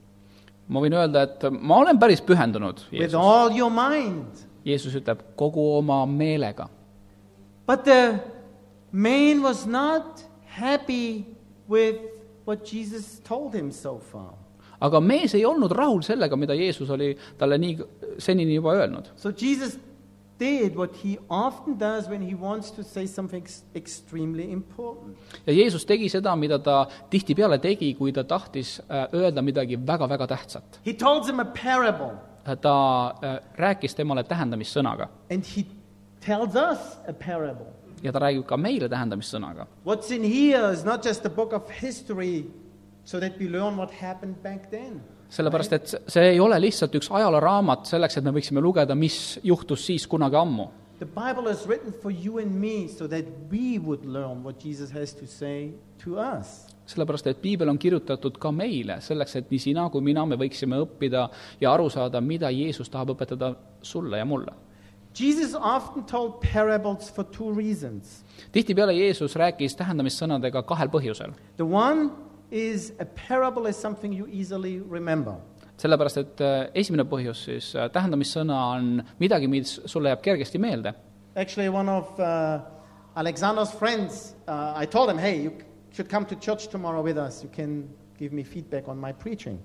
Speaker 2: ma võin öelda , et ma olen päris pühendunud ,
Speaker 1: With
Speaker 2: Jeesus .
Speaker 1: all your mind.
Speaker 2: Jeesus ütleb kogu oma meelega
Speaker 1: But the man was not happy with what Jesus told him so far.
Speaker 2: aga mees ei olnud rahul sellega , mida Jeesus oli talle nii , senini juba öelnud .
Speaker 1: So Jesus did what he often does when he wants to say something ex- extremely important.
Speaker 2: ja Jeesus tegi seda , mida ta tihtipeale tegi , kui ta tahtis äh, öelda midagi väga-väga tähtsat .
Speaker 1: He tells him a parable,
Speaker 2: ta äh, rääkis temale tähendamissõnaga
Speaker 1: and he tells us a parable.
Speaker 2: ja ta räägib ka meile tähendamissõnaga .
Speaker 1: What's in here is not just a book of history so that we learn what happened back then.
Speaker 2: sellepärast , et see- see ei ole lihtsalt üks ajalooraamat selleks , et me võiksime lugeda , mis juhtus siis kunagi ammu .
Speaker 1: The Bible is written for you and me so that we would learn what Jesus has to say to us.
Speaker 2: sellepärast , et piibel on kirjutatud ka meile , selleks et nii sina kui mina , me võiksime õppida ja aru saada , mida Jeesus tahab õpetada sulle ja mulle
Speaker 1: Jesus often told parables for two reasons.
Speaker 2: tihtipeale Jeesus rääkis tähendamissõnadega kahel põhjusel .
Speaker 1: The one is a parable is something you easily remember.
Speaker 2: sellepärast , et äh, esimene põhjus siis , tähendamissõna on midagi , mis sulle jääb kergesti meelde .
Speaker 1: Actually, one of uh, Alexander's friends, uh, I told him, hey, you c- should come to church tomorrow with us. You can give me feedback on my preaching.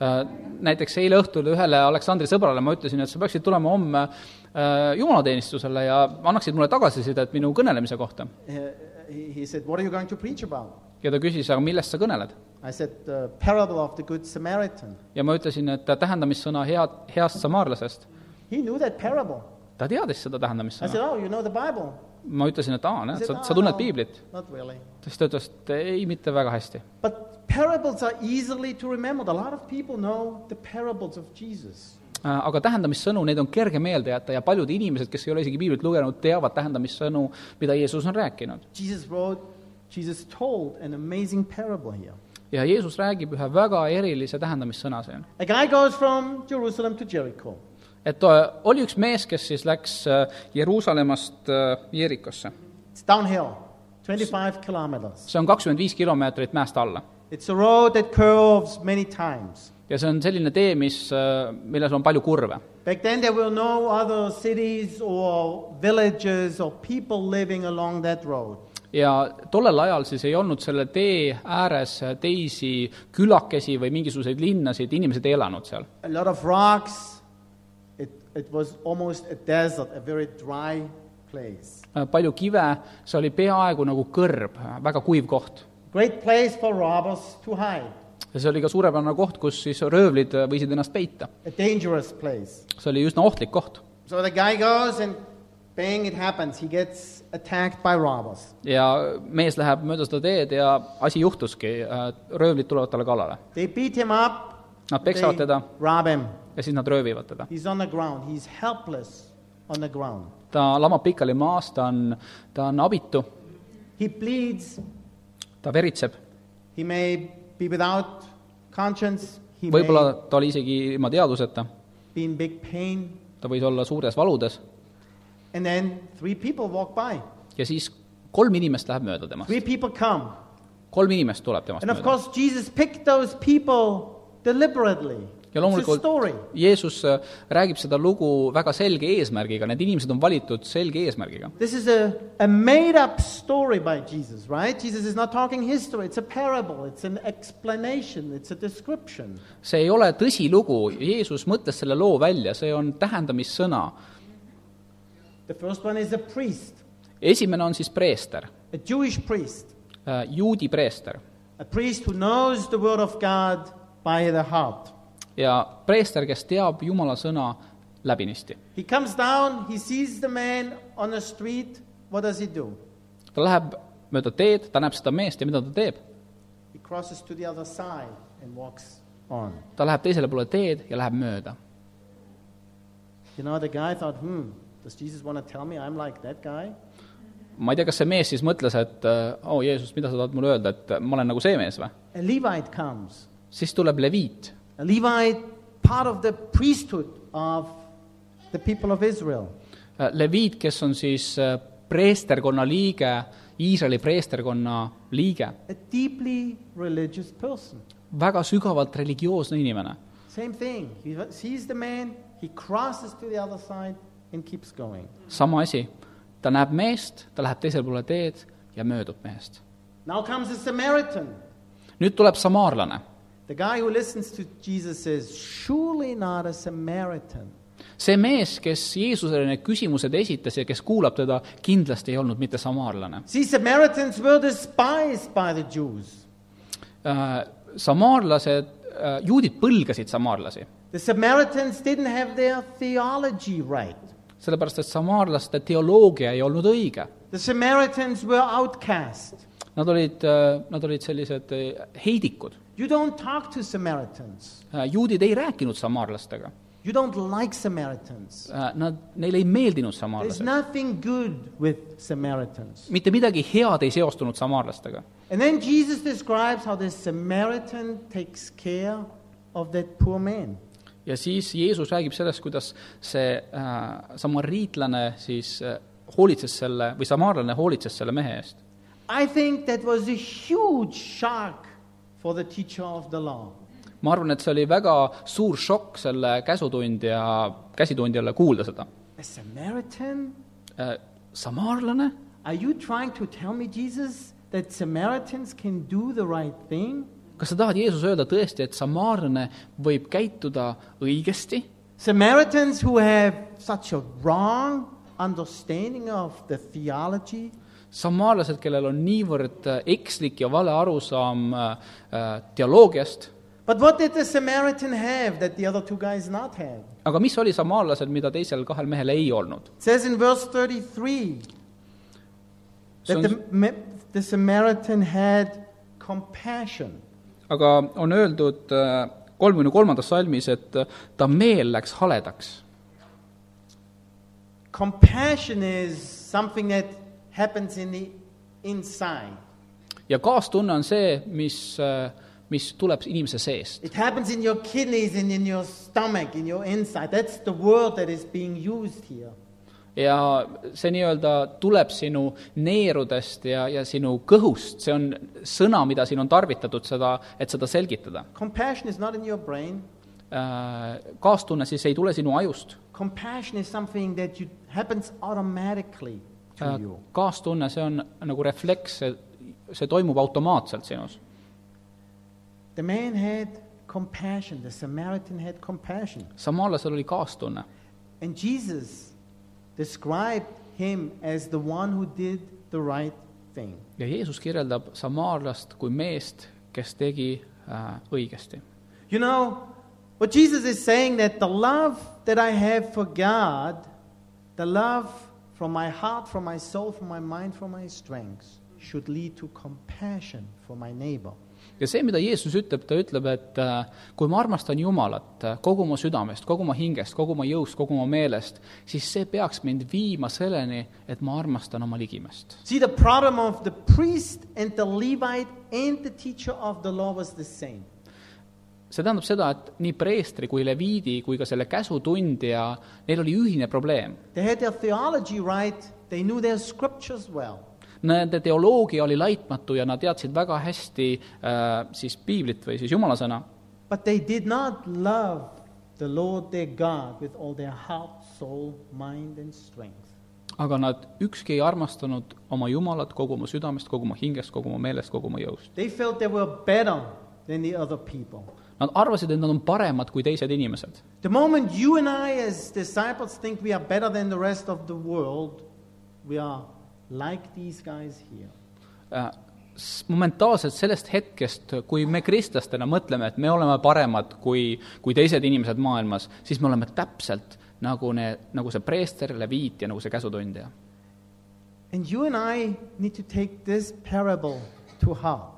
Speaker 2: Äh, Näiteks eile õhtul ühele Aleksandri sõbrale ma ütlesin , et sa peaksid tulema homme äh, jumalateenistusele ja annaksid mulle tagasisidet minu kõnelemise kohta .
Speaker 1: Uh, he, he said, what are you going to preach about?
Speaker 2: ja ta küsis , aga millest sa kõneled ?
Speaker 1: I said, the parable of the Good Samaritan.
Speaker 2: ja ma ütlesin , et tähendamissõna head , heast samaarlasest .
Speaker 1: He knew that parable.
Speaker 2: ta teadis seda
Speaker 1: I said,
Speaker 2: tähendamissõna .
Speaker 1: oh, you know the Bible?
Speaker 2: ma ütlesin , et aa ,
Speaker 1: He
Speaker 2: näed ,
Speaker 1: said,
Speaker 2: sa ,
Speaker 1: "Ah,
Speaker 2: sa tunned
Speaker 1: no,
Speaker 2: piiblit .
Speaker 1: Not really.
Speaker 2: siis ta ütles , et ei , mitte väga hästi
Speaker 1: But parables are easily to remember. A lot of people know the parables of Jesus.
Speaker 2: Äh, aga tähendamissõnu , neid on kerge meelde jätta ja paljud inimesed , kes ei ole isegi piiblit lugenud , teavad tähendamissõnu , mida Jeesus on rääkinud .
Speaker 1: Jesus wrote, Jesus told an amazing parable here.
Speaker 2: ja Jeesus räägib ühe väga erilise tähendamissõna siin .
Speaker 1: A guy goes from Jerusalem to Jericho.
Speaker 2: et äh, oli üks mees , kes siis läks äh, Jeruusalemmast äh, Jerikosse .
Speaker 1: It's downhill, 25 kilometers.
Speaker 2: see on kakskümmend viis kilomeetrit mäest alla .
Speaker 1: It's a road that curves many times.
Speaker 2: ja see on selline tee , mis , milles on palju kurve .
Speaker 1: Back then, there were no other cities or villages or people living along that road.
Speaker 2: ja tollel ajal siis ei olnud selle tee ääres teisi külakesi või mingisuguseid linnasid , inimesed ei elanud seal
Speaker 1: A lot of rocks. It, it was almost a desert, a very dry place.
Speaker 2: Äh, palju kive , see oli peaaegu nagu kõrb , väga kuiv koht .
Speaker 1: Great place for robbers to hide.
Speaker 2: ja see oli ka suurepärane koht , kus siis röövlid võisid ennast peita .
Speaker 1: A dangerous place.
Speaker 2: see oli üsna ohtlik koht .
Speaker 1: So the guy goes and bang, it happens. He gets attacked by robbers.
Speaker 2: ja mees läheb mööda seda teed ja asi juhtuski , röövlid tulevad talle kallale .
Speaker 1: They beat him up.
Speaker 2: Nad
Speaker 1: They
Speaker 2: peksavad teda
Speaker 1: rob him.
Speaker 2: ja siis nad röövivad teda .
Speaker 1: He's on the ground. He's helpless on the ground.
Speaker 2: ta lamab pikali maas , ta on , ta on abitu ,
Speaker 1: He pleads.
Speaker 2: ta veritseb ,
Speaker 1: He may be without conscience. He
Speaker 2: võib-olla
Speaker 1: may
Speaker 2: ta oli isegi ilma teaduseta ,
Speaker 1: be in big pain.
Speaker 2: ta võis olla suures valudes
Speaker 1: And then three people walk by.
Speaker 2: ja siis kolm inimest läheb mööda temast ,
Speaker 1: Three people come.
Speaker 2: kolm inimest tuleb temast
Speaker 1: And of
Speaker 2: mööda .
Speaker 1: course, Jesus picked those people deliberately.
Speaker 2: ja
Speaker 1: It's a
Speaker 2: loomulikult
Speaker 1: story.
Speaker 2: Jeesus äh, räägib seda lugu väga selge eesmärgiga, need inimesed on valitud selge eesmärgiga .
Speaker 1: This is a, a made up story by Jesus, right? Jesus is not talking history. It's a parable, it's an explanation, it's a description.
Speaker 2: see ei ole tõsilugu , Jeesus mõtles selle loo välja , see on tähendamissõna .
Speaker 1: The first one is a priest,
Speaker 2: esimene on siis preester ,
Speaker 1: a Jewish priest,
Speaker 2: juudi preester
Speaker 1: a priest who knows the Word of God by the heart.
Speaker 2: ja preester , kes teab Jumala sõna läbinisti .
Speaker 1: He comes down, he sees the man on the street. What does he do?
Speaker 2: ta läheb mööda teed , ta näeb seda meest ja mida ta teeb ?
Speaker 1: He crosses to the other side and walks on.
Speaker 2: ta läheb teisele poole teed ja läheb mööda .
Speaker 1: You know, the guy thought, hmm, does Jesus want to tell me I'm like that guy?
Speaker 2: ma ei tea , kas see mees siis mõtles , et äh, oo oh, Jeesus , mida sa tahad mulle öelda , et ma olen nagu see mees või ?
Speaker 1: A Levite comes.
Speaker 2: siis tuleb leviit .
Speaker 1: A Levite, part of the priesthood of the people of Israel.
Speaker 2: Äh, leviit , kes on siis äh, preesterkonna liige , Iisraeli preesterkonna liige ,
Speaker 1: A deeply religious person.
Speaker 2: väga sügavalt religioosne inimene .
Speaker 1: Same thing. He sees the man, he crosses to the other side, and keeps going.
Speaker 2: sama asi , ta näeb meest , ta läheb teisele poole teed ja möödub mehest .
Speaker 1: Now comes a Samaritan.
Speaker 2: nüüd tuleb samaarlane .
Speaker 1: The guy who listens to Jesus says, Surely not a Samaritan.
Speaker 2: see mees , kes Jeesusele need küsimused esitas ja kes kuulab teda , kindlasti ei olnud mitte samaarlane .
Speaker 1: See, Samaritans were despised by the Jews.
Speaker 2: Äh, Samaarlased , juudid põlgasid samaarlasi
Speaker 1: The Samaritans didn't have their theology right.
Speaker 2: sellepärast et samaarlaste teoloogia ei olnud õige .
Speaker 1: The Samaritans were outcast.
Speaker 2: Nad olid , nad olid sellised äh, heidikud .
Speaker 1: You don't talk to Samaritans.
Speaker 2: juudid ei rääkinud samaarlastega .
Speaker 1: You don't like Samaritans.
Speaker 2: Nad , neile ei meeldinud
Speaker 1: There's
Speaker 2: samaarlased .
Speaker 1: nothing good with Samaritans.
Speaker 2: mitte midagi head ei seostunud samaarlastega .
Speaker 1: And then Jesus describes how the Samaritan takes care of that poor man.
Speaker 2: ja siis Jeesus räägib sellest , kuidas see äh, samariitlane siis äh, hoolitses selle või samaarlane hoolitses selle mehe eest .
Speaker 1: I think that was a huge shock for the teacher of the law.
Speaker 2: ma arvan , et see oli väga suur šokk selle käsutundja , käsitundjale kuulda seda
Speaker 1: A Samaritan?
Speaker 2: äh, . samaarlane
Speaker 1: Are you trying to tell me, Jesus, that Samaritans can do the right thing?
Speaker 2: kas sa tahad , Jeesus , öelda tõesti , et samaarlane võib käituda õigesti ?
Speaker 1: Samaritans who have such a wrong understanding of the theology?
Speaker 2: samaarlased , kellel on niivõrd äh, ekslik ja vale arusaam äh, äh, teoloogiast ,
Speaker 1: But what did the Samaritan have that the other two guys not have?
Speaker 2: aga mis oli samaarlased , mida teisel kahel mehel ei olnud ?
Speaker 1: It says in verse 33
Speaker 2: See
Speaker 1: that
Speaker 2: on-
Speaker 1: the, Ma- the Samaritan had compassion.
Speaker 2: aga on öeldud äh, kolmekümne kolmandas salmis , et äh, ta meel läks haledaks .
Speaker 1: Compassion is something that happens in the inside.
Speaker 2: ja kaastunne on see , mis , mis tuleb inimese seest .
Speaker 1: It happens in your kidneys and in your stomach, in your inside. That's the word that is being used here.
Speaker 2: ja see nii-öelda tuleb sinu neerudest ja , ja sinu kõhust , see on sõna , mida siin on tarvitatud seda , et seda selgitada .
Speaker 1: Compassion is not in your brain.
Speaker 2: Kaastunne siis ei tule sinu ajust ,
Speaker 1: Compassion is something that you, happens automatically to
Speaker 2: Uh,
Speaker 1: you.
Speaker 2: Äh, kaastunne , see on nagu refleks , see , see toimub automaatselt sinus .
Speaker 1: The man had compassion. The Samaritan had compassion.
Speaker 2: samaalasel oli kaastunne
Speaker 1: And Jesus described him as the one who did the right thing.
Speaker 2: ja Jeesus kirjeldab samaalast kui meest , kes tegi äh, õigesti .
Speaker 1: You know, what Jesus is saying that the love that I have for God, the love from my heart, from my soul, from my mind, from my strengths, should lead to compassion for my neighbor.
Speaker 2: ja see , mida Jeesus ütleb , ta ütleb , et äh, kui ma armastan Jumalat äh, kogu oma südamest , kogu oma hingest , kogu oma jõust , kogu oma meelest , siis see peaks mind viima selleni , et ma armastan oma ligimest .
Speaker 1: See, the problem of the priest and the Levite and the teacher of the law was the same.
Speaker 2: see tähendab seda , et nii preestri kui leviidi kui ka selle käsutundja , neil oli ühine probleem .
Speaker 1: They had their theology right, they knew their scriptures well.
Speaker 2: Nende teoloogia oli laitmatu ja nad teadsid väga hästi äh, siis piiblit või siis jumala sõna ,
Speaker 1: But they did not love the Lord their God with all their heart, soul, mind, and strength.
Speaker 2: aga nad ükski ei armastanud oma Jumalat kogu oma südamest , kogu oma hingest , kogu oma meelest , kogu oma jõust .
Speaker 1: They felt they were better than the other people.
Speaker 2: Nad arvasid , et nad on paremad kui teised inimesed .
Speaker 1: The moment you and I, as disciples, think we are better than the rest of the world, we are like these guys here.
Speaker 2: Äh, momentaalselt sellest hetkest , kui me kristlastena mõtleme , et me oleme paremad kui , kui teised inimesed maailmas , siis me oleme täpselt nagu need , nagu see preester , leviit ja nagu see käsutundja .
Speaker 1: And you and I need to take this parable to heart.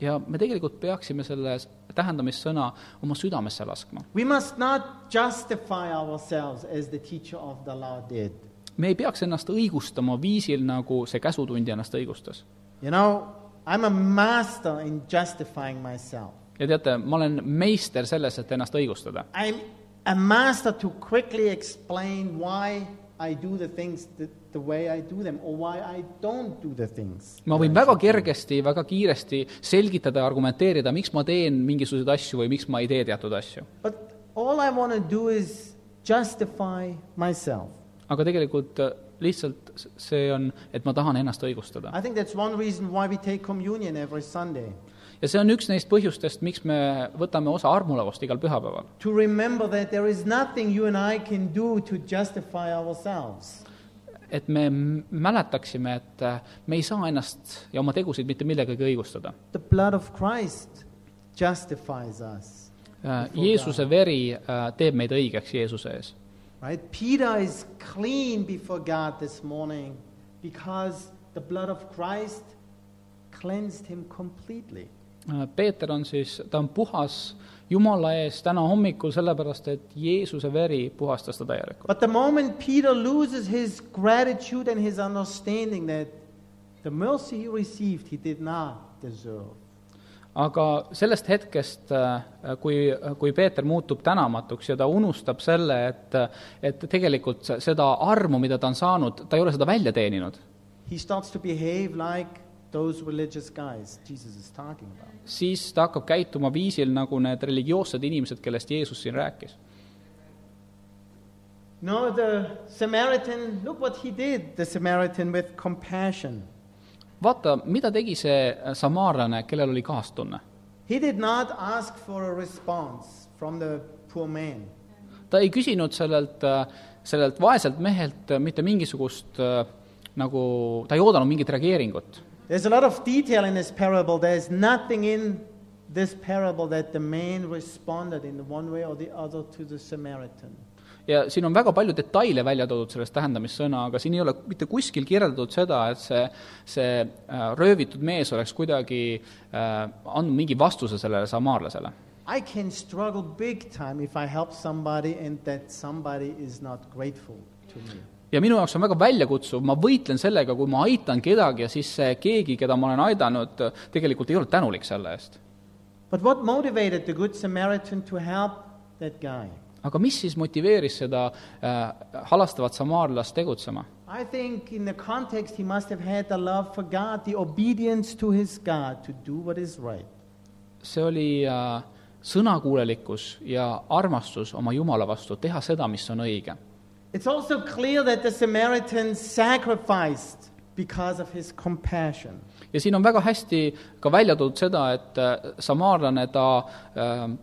Speaker 2: ja me tegelikult peaksime selle s- tähendamissõna oma südamesse laskma .
Speaker 1: We must not justify ourselves as the teacher of the law did.
Speaker 2: me ei peaks ennast õigustama viisil , nagu see käsutundja ennast õigustas .
Speaker 1: You know, I'm a master in justifying myself.
Speaker 2: ja teate , ma olen meister selles , et ennast õigustada .
Speaker 1: I'm a master to quickly explain why I do the things the, the way I do them or why I don't do the things.
Speaker 2: ma
Speaker 1: that
Speaker 2: võin
Speaker 1: I
Speaker 2: väga
Speaker 1: should do.
Speaker 2: kergesti , väga kiiresti selgitada ja argumenteerida , miks ma teen mingisuguseid asju või miks ma ei tee teatud asju .
Speaker 1: But all I want to do is justify myself.
Speaker 2: aga tegelikult äh, lihtsalt s- see on , et ma tahan ennast õigustada .
Speaker 1: I think that's one reason why we take communion every Sunday
Speaker 2: ja see on üks neist põhjustest , miks me võtame osa armulauast igal pühapäeval .
Speaker 1: to remember that there is nothing you and I can do to justify ourselves.
Speaker 2: et me m- mäletaksime , et äh, me ei saa ennast ja oma tegusid mitte millegagi õigustada .
Speaker 1: The blood of Christ justifies us.
Speaker 2: Äh, Jeesuse veri äh, teeb meid õigeks Jeesuse ees .
Speaker 1: Right? Peter is clean before God this morning because the blood of Christ cleansed him completely.
Speaker 2: Äh, Peeter on siis , ta on puhas Jumala ees täna hommikul , sellepärast et Jeesuse veri puhastas ta täielikult .
Speaker 1: But the moment Peter loses his gratitude and his understanding that the mercy he received, he did not deserve.
Speaker 2: aga sellest hetkest , kui , kui Peeter muutub tänamatuks ja ta unustab selle , et , et tegelikult se- seda armu , mida ta on saanud , ta ei ole seda välja teeninud ,
Speaker 1: He starts to behave like those religious guys Jesus is talking about.
Speaker 2: siis ta hakkab käituma viisil , nagu need religioossed inimesed , kellest Jeesus siin rääkis .
Speaker 1: No, the Samaritan, look what he did, the Samaritan with compassion.
Speaker 2: vaata , mida tegi see samaarlane , kellel oli kaastunne
Speaker 1: He did not ask for a response from the poor man.
Speaker 2: ta ei küsinud sellelt , sellelt vaeselt mehelt äh, mitte mingisugust äh, nagu , ta ei oodanud mingit reageeringut .
Speaker 1: There's a lot of detail in this parable. There's nothing in this parable that the man responded in one way or the other to the Samaritan.
Speaker 2: ja siin on väga palju detaile välja toodud sellest tähendamissõna , aga siin ei ole mitte kuskil kirjeldatud seda , et see , see äh, röövitud mees oleks kuidagi äh, andnud mingi vastuse sellele samaarlasele .
Speaker 1: I can struggle big time if I help somebody and that somebody is not grateful to me.
Speaker 2: ja minu jaoks on väga väljakutsuv , ma võitlen sellega , kui ma aitan kedagi ja siis see keegi , keda ma olen aidanud , tegelikult ei olnud tänulik selle eest .
Speaker 1: But what motivated the Good Samaritan to help that guy?
Speaker 2: aga mis siis motiveeris seda äh, halastavat samaarlast tegutsema ?
Speaker 1: I think in the context, he must have had the love for God, the obedience to his God to do what is right.
Speaker 2: see oli äh, sõnakuulelikkus ja armastus oma Jumala vastu , teha seda , mis on õige .
Speaker 1: It's also clear that the Samaritan sacrificed because of his compassion.
Speaker 2: ja siin on väga hästi ka välja toodud seda , et äh, samaarlane , ta ,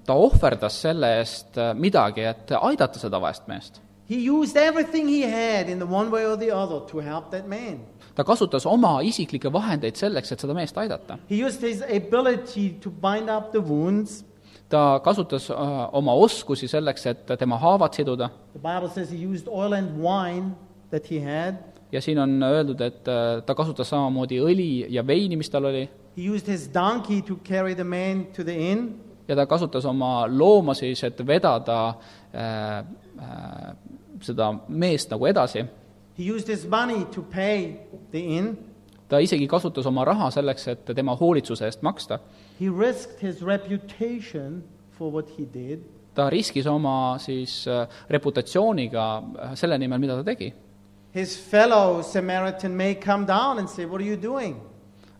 Speaker 2: ta ohverdas selle eest äh, midagi , et aidata seda vaest meest .
Speaker 1: He used everything he had in the one way or the other to help that man.
Speaker 2: ta kasutas oma isiklikke vahendeid selleks , et seda meest aidata .
Speaker 1: He used his ability to bind up the wounds.
Speaker 2: ta kasutas äh, oma oskusi selleks , et tema haavad siduda
Speaker 1: The Bible says he used oil and wine that he had.
Speaker 2: ja siin on öeldud , et äh, ta kasutas samamoodi õli ja veini , mis tal oli
Speaker 1: He used his donkey to carry the man to the inn.
Speaker 2: ja ta kasutas oma looma siis , et vedada äh, äh, seda meest nagu edasi .
Speaker 1: He used his money to pay the inn.
Speaker 2: ta isegi kasutas oma raha selleks , et tema hoolitsuse eest maksta .
Speaker 1: He risked his reputation for what he did.
Speaker 2: ta riskis oma siis äh, reputatsiooniga äh, selle nimel , mida ta tegi .
Speaker 1: His fellow Samaritan may come down and say, What are you doing?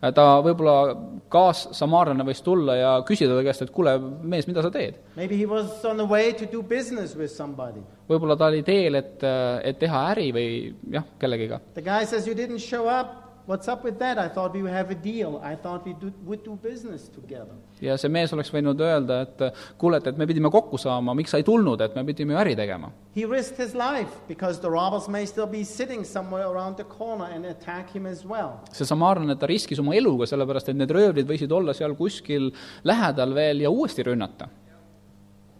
Speaker 2: Äh, ta võib-olla kaassamaarlane võis tulla ja küsida ta käest , et kuule , mees , mida sa teed ?
Speaker 1: Maybe he was on the way to do business with somebody.
Speaker 2: võib-olla ta oli teel , et , et teha äri või jah , kellegiga .
Speaker 1: The guy says, You didn't show up. What's up with that? I thought we would have a deal. I thought we do, would do business together.
Speaker 2: ja see mees oleks võinud öelda , et kuule , et , et me pidime kokku saama , miks sa ei tulnud , et me pidime ju äri tegema .
Speaker 1: He risked his life because the robbers may still be sitting somewhere around the corner and attack him as well.
Speaker 2: see samaarlane , ta riskis oma eluga , sellepärast et need röövlid võisid olla seal kuskil lähedal veel ja uuesti rünnata .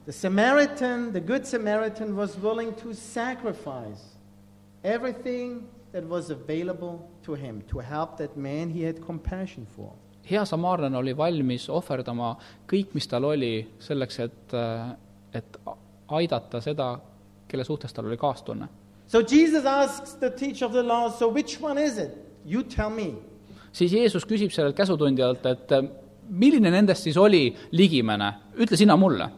Speaker 1: The Samaritan, the Good Samaritan, was willing to sacrifice everything that was available to him to help that man he had compassion for.
Speaker 2: hea samaarlane oli valmis ohverdama kõik , mis tal oli , selleks et , et aidata seda , kelle suhtes tal oli kaastunne .
Speaker 1: So Jesus asks the teacher of the law, So which one is it? You tell me.
Speaker 2: siis Jeesus küsib sellelt käsutundjalt , et milline nendest siis oli ligimene , ütle sina mulle .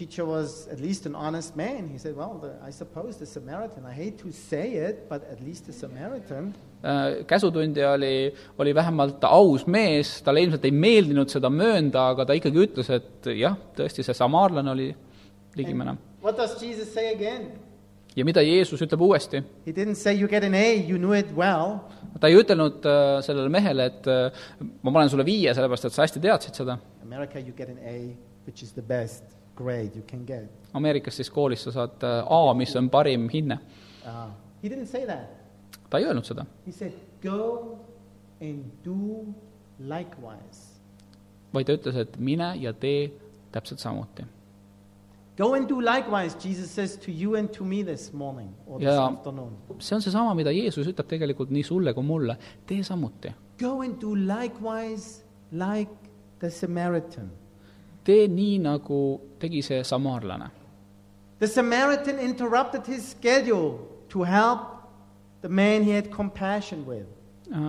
Speaker 1: Teacher was at least an honest man. He said, Well, the, I suppose the Samaritan. I hate to say it, but at least the Samaritan.
Speaker 2: käsutundja Äh, oli , oli vähemalt aus mees , talle ilmselt ei meeldinud seda möönda , aga ta ikkagi ütles , et jah , tõesti , see samaarlane oli ligimene .
Speaker 1: What does Jesus say again?
Speaker 2: ja mida Jeesus ütleb uuesti ?
Speaker 1: He didn't say, You get an A, you knew it well.
Speaker 2: ta ei ütelnud äh, sellele mehele , et äh, ma panen sulle viie , sellepärast et sa hästi teadsid seda .
Speaker 1: America, you get an A, which is the best grade you can get.
Speaker 2: Ameerikas siis koolis sa saad äh, A , mis on parim hinne .
Speaker 1: Uh, he didn't say that.
Speaker 2: ta ei öelnud seda ,
Speaker 1: He said, Go and do likewise.
Speaker 2: vaid ta ütles , et mine ja tee täpselt samuti .
Speaker 1: Go and do likewise, Jesus says to you and to me this morning or this
Speaker 2: Yeah.
Speaker 1: afternoon.
Speaker 2: see on seesama , mida Jeesus ütleb tegelikult nii sulle kui mulle , tee samuti .
Speaker 1: Go and do likewise, like the Samaritan.
Speaker 2: tee nii , nagu tegi see samaarlane .
Speaker 1: The Samaritan interrupted his schedule to help the man he had compassion with.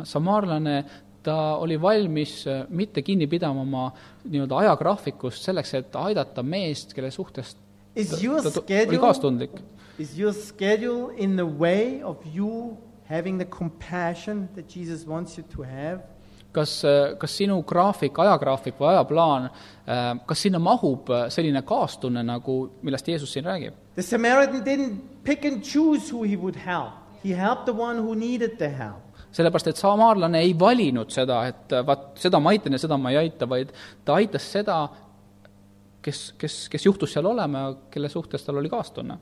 Speaker 2: samaarlane , Äh, ta oli valmis äh, mitte kinni pidama oma nii-öelda ajagraafikust selleks , et aidata meest , kelle suhtes ta,
Speaker 1: Is your
Speaker 2: ta tu- oli
Speaker 1: schedule
Speaker 2: kaastundlik .
Speaker 1: is your schedule in the way of you having the compassion that Jesus wants you to have?
Speaker 2: kas , kas sinu graafik , ajagraafik või ajaplaan , kas sinna mahub äh, selline kaastunne , nagu , millest Jeesus siin räägib ?
Speaker 1: The Samaritan didn't pick and choose who he would help. He helped the one who needed the help.
Speaker 2: sellepärast , et samaarlane ei valinud seda , et äh, vaat seda ma aitan ja seda ma ei aita , vaid ta aitas seda , kes , kes , kes juhtus seal olema , kelle suhtes tal oli kaastunne .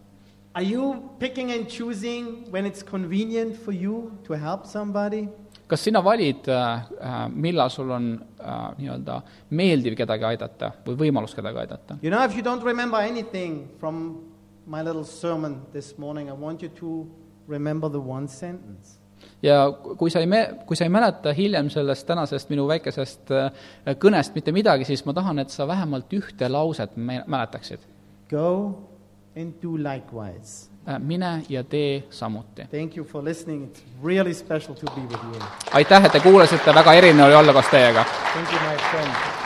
Speaker 1: Are you picking and choosing when it's convenient for you to help somebody?
Speaker 2: kas sina valid , millal sul on äh, nii-öelda meeldiv kedagi aidata või võimalus kedagi aidata ?
Speaker 1: You know, if you don't remember anything from my little sermon this morning, I want you to remember the one sentence.
Speaker 2: ja kui sa ei me- , kui sa ei mäleta hiljem sellest tänasest minu väikesest äh, kõnest mitte midagi , siis ma tahan , et sa vähemalt ühte lauset me- mäletaksid .
Speaker 1: Go and do likewise.
Speaker 2: Äh, mine ja tee samuti .
Speaker 1: Thank you for listening. It's really special to be with you.
Speaker 2: aitäh , et te kuulasite , väga erinev oli olla koos teiega
Speaker 1: Thank you, my friend.